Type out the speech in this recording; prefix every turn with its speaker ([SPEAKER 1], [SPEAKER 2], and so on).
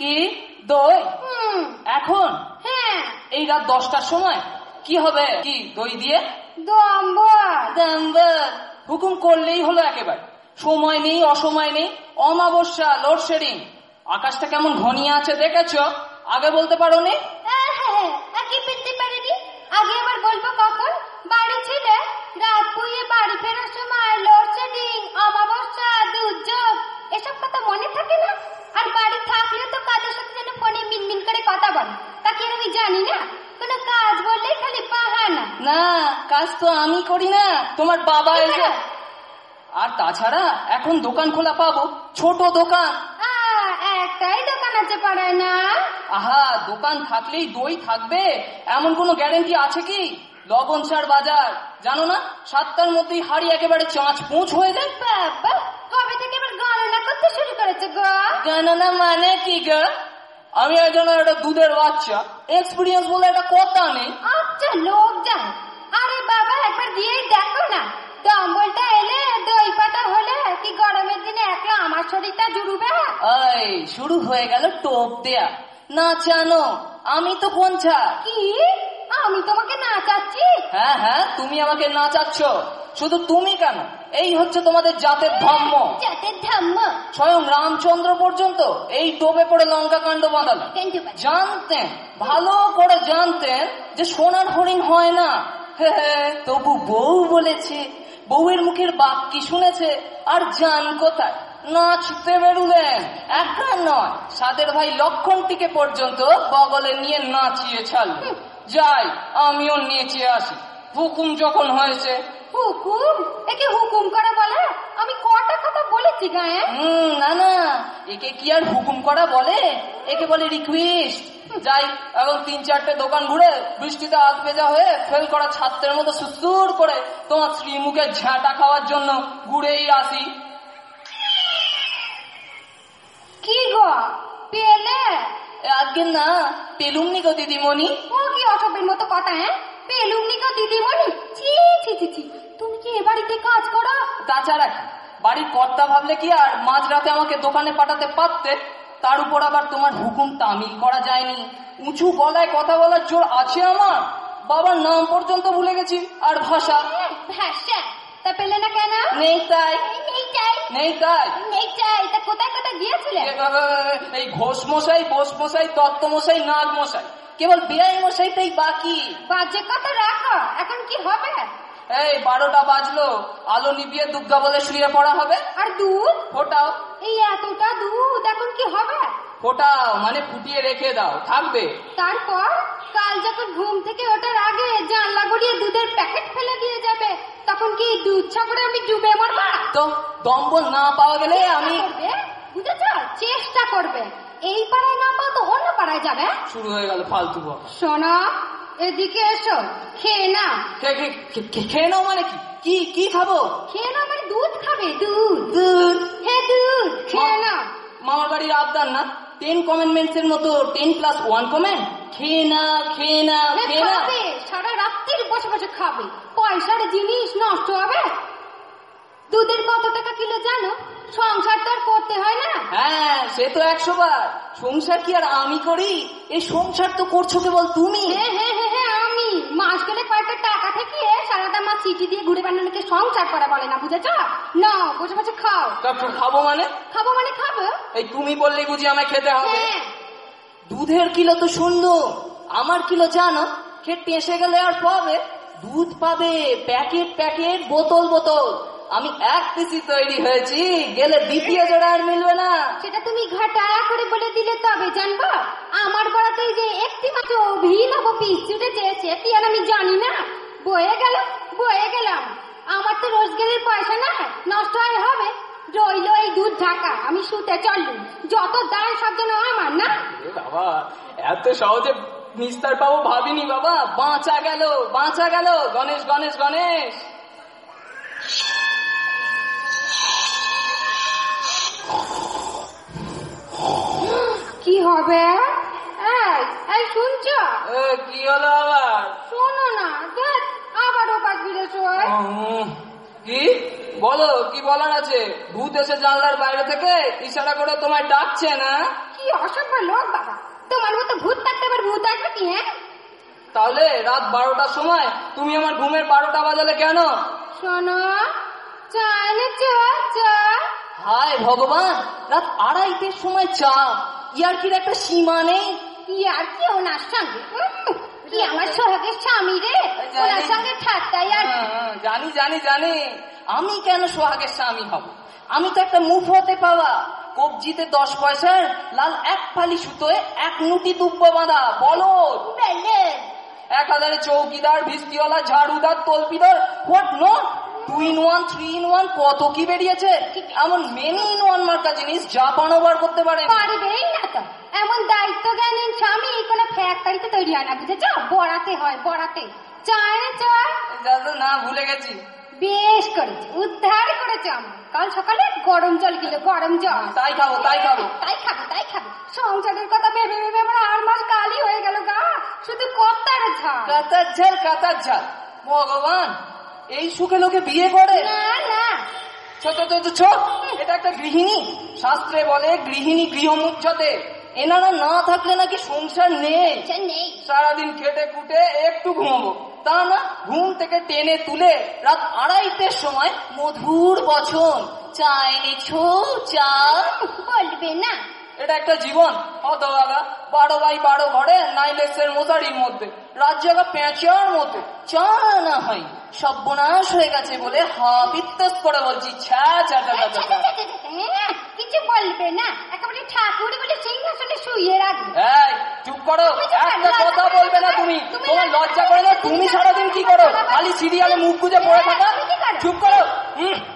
[SPEAKER 1] কি দই
[SPEAKER 2] হুম
[SPEAKER 1] এখন
[SPEAKER 2] হ্যাঁ
[SPEAKER 1] এই রাত দশটার সময় কি হবে কি দই দিয়ে
[SPEAKER 2] দম্বর
[SPEAKER 1] দাম্বার। হুকুম করলেই হলো একেবারে সময় নেই অসময় নেই অমাবস্যা লোডশেডিং আকাশটা কেমন ঘনিয়ে আছে দেখেছ আগে বলতে পারো নি
[SPEAKER 2] হ্যাঁ হ্যাঁ আগে পেতে পারিনি আগে আবার বলবো কখন বাড়ি ছিলে রাত পুয়ে বাড়ি ফেরার সময় লোডশেডিং অমাবস্যা দুর্যোগ এসব কথা মনে থাকে না আর বাড়ি থাকলে তো কাজের সাথে যেন ফোনে মিনমিন করে কথা বলে তাকে আমি জানি না কোনো কাজ বললেই খালি বাহানা
[SPEAKER 1] না কাজ তো আমি করি না তোমার বাবা
[SPEAKER 2] কি
[SPEAKER 1] এসে
[SPEAKER 2] করে?
[SPEAKER 1] আর তাছাড়া এখন দোকান খোলা পাবো ছোট দোকান
[SPEAKER 2] আ, একটাই দোকান আছে পাড়ায় না
[SPEAKER 1] আহা দোকান থাকলেই দই থাকবে এমন কোনো গ্যারেন্টি আছে কি লবণ ছাড় বাজার জানো না সাতটার মধ্যেই হাড়ি একেবারে চাঁচ পুঁচ হয়ে যায়
[SPEAKER 2] বাবা কবে থেকে আবার গণনা করতে শুরু করেছে গো
[SPEAKER 1] গণনা মানে কি গো আমি একজন একটা দুধের বাচ্চা এক্সপিরিয়েন্স বলে একটা কথা নেই
[SPEAKER 2] আচ্ছা লোক যায় আরে বাবা একবার দিয়েই দেখো না দম্বলটা এলে দই পাতা হলে কি গরমের দিনে একলা আমার শরীরটা জুড়ুবে
[SPEAKER 1] এই শুরু হয়ে গেল টোপ দেয়া না জানো আমি তো কোন ছাড়
[SPEAKER 2] কি আমি তোমাকে না চাচ্ছি
[SPEAKER 1] হ্যাঁ হ্যাঁ তুমি আমাকে নাচাচ্ছ শুধু তুমি কেন এই হচ্ছে তোমাদের জাতের ধর্ম
[SPEAKER 2] যাতে ধম্ম
[SPEAKER 1] স্বয়ং রামচন্দ্র পর্যন্ত এই টোপে পড়ে লঙ্কা কাণ্ড বাঁধালেন
[SPEAKER 2] কিন্তু
[SPEAKER 1] জানতেন ভালো করে জানতেন যে সোনার হরিণ হয় না হে হে, তবু বউ বলেছে বউয়ের মুখের বাক্যি শুনেছে আর জান কোথায় নাচতে বেরুলেন একটা নয় সাদের ভাই লক্ষণটিকে পর্যন্ত বগলে নিয়ে নাচিয়ে ছাড়ল যাই আমিও নেচে আসি হুকুম যখন হয়েছে
[SPEAKER 2] হুকুম একে হুকুম করা বলে আমি কটা কথা বলেছি গায়ে
[SPEAKER 1] হুম, না না একে কি আর হুকুম করা বলে একে বলে রিকোয়েস্ট যাই এখন তিন চারটে দোকান ঘুরে বৃষ্টিতে হাত ভেজা হয়ে ফেল করা ছাত্রের মতো সুসুর করে তোমার স্ত্রী মুখে ঝাঁটা খাওয়ার জন্য ঘুরেই আসি
[SPEAKER 2] কি গো পেলে
[SPEAKER 1] এ, আজকে না পেলুমনি গো দিদিমণি
[SPEAKER 2] ও কি অসভ্যের মতো কথা হ্যাঁ পেলুমনি গো দিদিমণি ছি ছি ছি ছি তুমি কি এ বাড়িতে কাজ করো
[SPEAKER 1] তাছাড়া কি? বাড়ির কর্তা ভাবলে কি আর মাঝরাতে আমাকে দোকানে পাঠাতে পারতে তার উপর আবার তোমার হুকুম তামিল করা যায়নি উঁচু গলায় কথা বলার জোর আছে আমার বাবার নাম পর্যন্ত ভুলে গেছি আর ভাষা
[SPEAKER 2] ভাষা হ্যাঁ, তা পেলে না কেন
[SPEAKER 1] নেই তাই
[SPEAKER 2] নেই চাই
[SPEAKER 1] নেই তাই
[SPEAKER 2] নেই চাই তা কোথায় কোথায় গিয়েছিলে
[SPEAKER 1] এই ঘোষ মশাই বোস মশাই দত্ত মশাই নাগ মশাই কেবল বিরাই মশাইটাই বাকি
[SPEAKER 2] বাজে কথা রাখো এখন কি হবে
[SPEAKER 1] এই বারোটা বাজলো আলো নিবিয়ে দুর্গা বলে শুয়ে পড়া হবে
[SPEAKER 2] আর দুধ
[SPEAKER 1] ফোটাও
[SPEAKER 2] এই এতটা দুধ এখন কি হবে
[SPEAKER 1] ফোটাও মানে ফুটিয়ে রেখে দাও থাকবে
[SPEAKER 2] তারপর কাল যখন ঘুম থেকে ওঠার আগে জানলা গড়িয়ে দুধের প্যাকেট ফেলে দিয়ে যাবে তখন কি দুধ ছাগড়ে আমি ডুবে মরবা
[SPEAKER 1] তো দম্বল না পাওয়া গেলে আমি
[SPEAKER 2] করবে বুঝেছ চেষ্টা করবে এই পাড়ায় না পাও তো অন্য পাড়ায় যাবে
[SPEAKER 1] শুরু হয়ে গেল ফালতু বকা।
[SPEAKER 2] শোনো এদিকে এসো খেয়ে না
[SPEAKER 1] খে- খে- খে- খে- খেয়ে নাও মানে কি কি কি খাবো
[SPEAKER 2] খেয়ে না মানে দুধ খাবে দুধ
[SPEAKER 1] দুধ
[SPEAKER 2] হে দুধ খেয়ে না
[SPEAKER 1] মামার বাড়ির আবদার না টেন কমেন্টমেন্টস এর মতো টেন প্লাস ওয়ান কমেন্ট খেয়ে না খেয়ে না
[SPEAKER 2] হে
[SPEAKER 1] খেয়ে না
[SPEAKER 2] খাবে সারা রাত্রির বসে বসে খাবে পয়সার জিনিস নষ্ট হবে দুধের কত টাকা কিলো জানো সংসার তো আর করতে হয় না
[SPEAKER 1] হ্যাঁ সে তো একশো বার সংসার কি আর আমি করি এই সংসার তো করছো কেবল তুমি
[SPEAKER 2] হে হে হে হে আমি মাস গেলে কয়েকটা টাকা থেকে সারাটা মাছ চিঠি দিয়ে ঘুরে বেড়ানোকে সংসার করা বলে না বুঝেছ না বসে বসে খাও
[SPEAKER 1] ডক্টর খাবো মানে
[SPEAKER 2] খাবো মানে খাবো
[SPEAKER 1] এই তুমি বললে বুঝি আমায় খেতে হবে
[SPEAKER 2] হ্যাঁ
[SPEAKER 1] দুধের কিলো তো সুন্দর আমার কিলো জানো সে টেসে গেলে আর পাবে দুধ পাবে প্যাকেট প্যাকেট বোতল বোতল আমি এক পিসি তৈরি হয়েছি গেলে দ্বিতীয় জোড়া আর মিলবে না
[SPEAKER 2] সেটা তুমি ঘাটায়া করে বলে দিলে তবে জানবো আমার বড়াতে যে একটি মাত্র অভিনব পিস উঠেছে সেটি আর আমি জানি না বয়ে গেল বয়ে গেলাম আমার তো রোজগারের পয়সা না নষ্ট হয় হবে রইল এই দুধ ঢাকা আমি শুতে চললুম যত দায় সব যেন আমার না
[SPEAKER 1] এ বাবা এত সহজে নিস্তার পাবো ভাবিনি বাবা বাঁচা গেল বাঁচা গেল গণেশ গণেশ গণেশ
[SPEAKER 2] কি হবে এই এই শুনছ
[SPEAKER 1] এ, কি হলো আবার
[SPEAKER 2] শোনো না দেখ আবার ওপাশ বিরেছ
[SPEAKER 1] উম, কি বলো কি বলার আছে ভূত এসে জানলার বাইরে থেকে ইশারা করে তোমায় ডাকছে না
[SPEAKER 2] কি অসভ্য লোক বাবা তোমার মতো ভূত থাকতে আবার ভূত আসবে কি হ্যাঁ
[SPEAKER 1] তাহলে রাত বারোটার সময় তুমি আমার ঘুমের বারোটা বাজালে কেন
[SPEAKER 2] শোনো চাইলে চা চা
[SPEAKER 1] হায় ভগবান রাত আড়াইটের সময় চা ইয়ার্কির একটা সীমা নেই
[SPEAKER 2] কি আর কি ওনার সঙ্গে উম, কি আমার সোহাগের স্বামী রে ওনার সঙ্গে ঠাট্টাই আর কি।
[SPEAKER 1] হ্যাঁ, জানি জানি জানি আমি কেন সোহাগের স্বামী হব আমি তো একটা মুফ হতে পাওয়া কবজিতে দশ পয়সার লাল এক ফালি সুতোয় এক নুটি দুব্ব বাঁধা বলদ
[SPEAKER 2] বেলেন
[SPEAKER 1] এক হাজারে চৌকিদার ভিস্তিওয়ালা ঝাড়ুদার তলপিদার what no two in one three in one কত কি বেরিয়েছে এমন মেনি ইন ওয়ান মার্কা জিনিস জাপানও বার করতে পারে
[SPEAKER 2] পারবেই না তো এমন দায়িত্ব জ্ঞানীন স্বামী কোনো ফ্যাক্টরিতে তৈরি হয় না বুঝেছ বড়াতে হয় বড়াতে চায় চল
[SPEAKER 1] না ভুলে গেছি
[SPEAKER 2] বেশ করেছে উদ্ধার করেছে আমার কাল সকালে গরম জল গেলে গরম জল
[SPEAKER 1] তাই খাবো তাই খাবো
[SPEAKER 2] তাই খাবে তাই খাবে সংসারের কথা ভেবে ভেবে আমার আর মাস কালই হয়ে গেল গা শুধু কর্তার ঝাল
[SPEAKER 1] কাতার ঝাল কাতার ঝাল ভগবান এই সুখে লোকে বিয়ে করে
[SPEAKER 2] না না
[SPEAKER 1] ছোট ছোট ছোট এটা একটা গৃহিণী শাস্ত্রে বলে গৃহিণী গৃহমুখ্যতে এনারা না থাকলে নাকি সংসার নেই
[SPEAKER 2] সে নেই
[SPEAKER 1] সারাদিন খেটে কুটে একটু ঘুমাবো তা না ঘুম থেকে টেনে তুলে রাত আড়াইটের সময় মধুর বচন চা এনেছো চা
[SPEAKER 2] বলবে না
[SPEAKER 1] এটা একটা জীবন হতভাগা বারো বাই বারো ঘরে নাইলেক্সের মোতারির মধ্যে রাত জায়গা পেঁচার মতো চা না হয় সর্বনাশ হয়ে গেছে বলে হা বিত্তাস করে বলছি ছ্যা ছ্যা ছ্যা ছ্যা ছ্যা।
[SPEAKER 2] হ্যাঁ, কিছু বলবে না একেবারে ঠাকুর বলে সিংহাসনে শুয়ে রাখবে
[SPEAKER 1] এই চুপ করো একটা কথা বলবে না তুমি তোমার লজ্জা করে না তুমি সারাদিন কি করো খালি সিরিয়ালে মুখ গুজে পড়ে থাকা চুপ করো হুম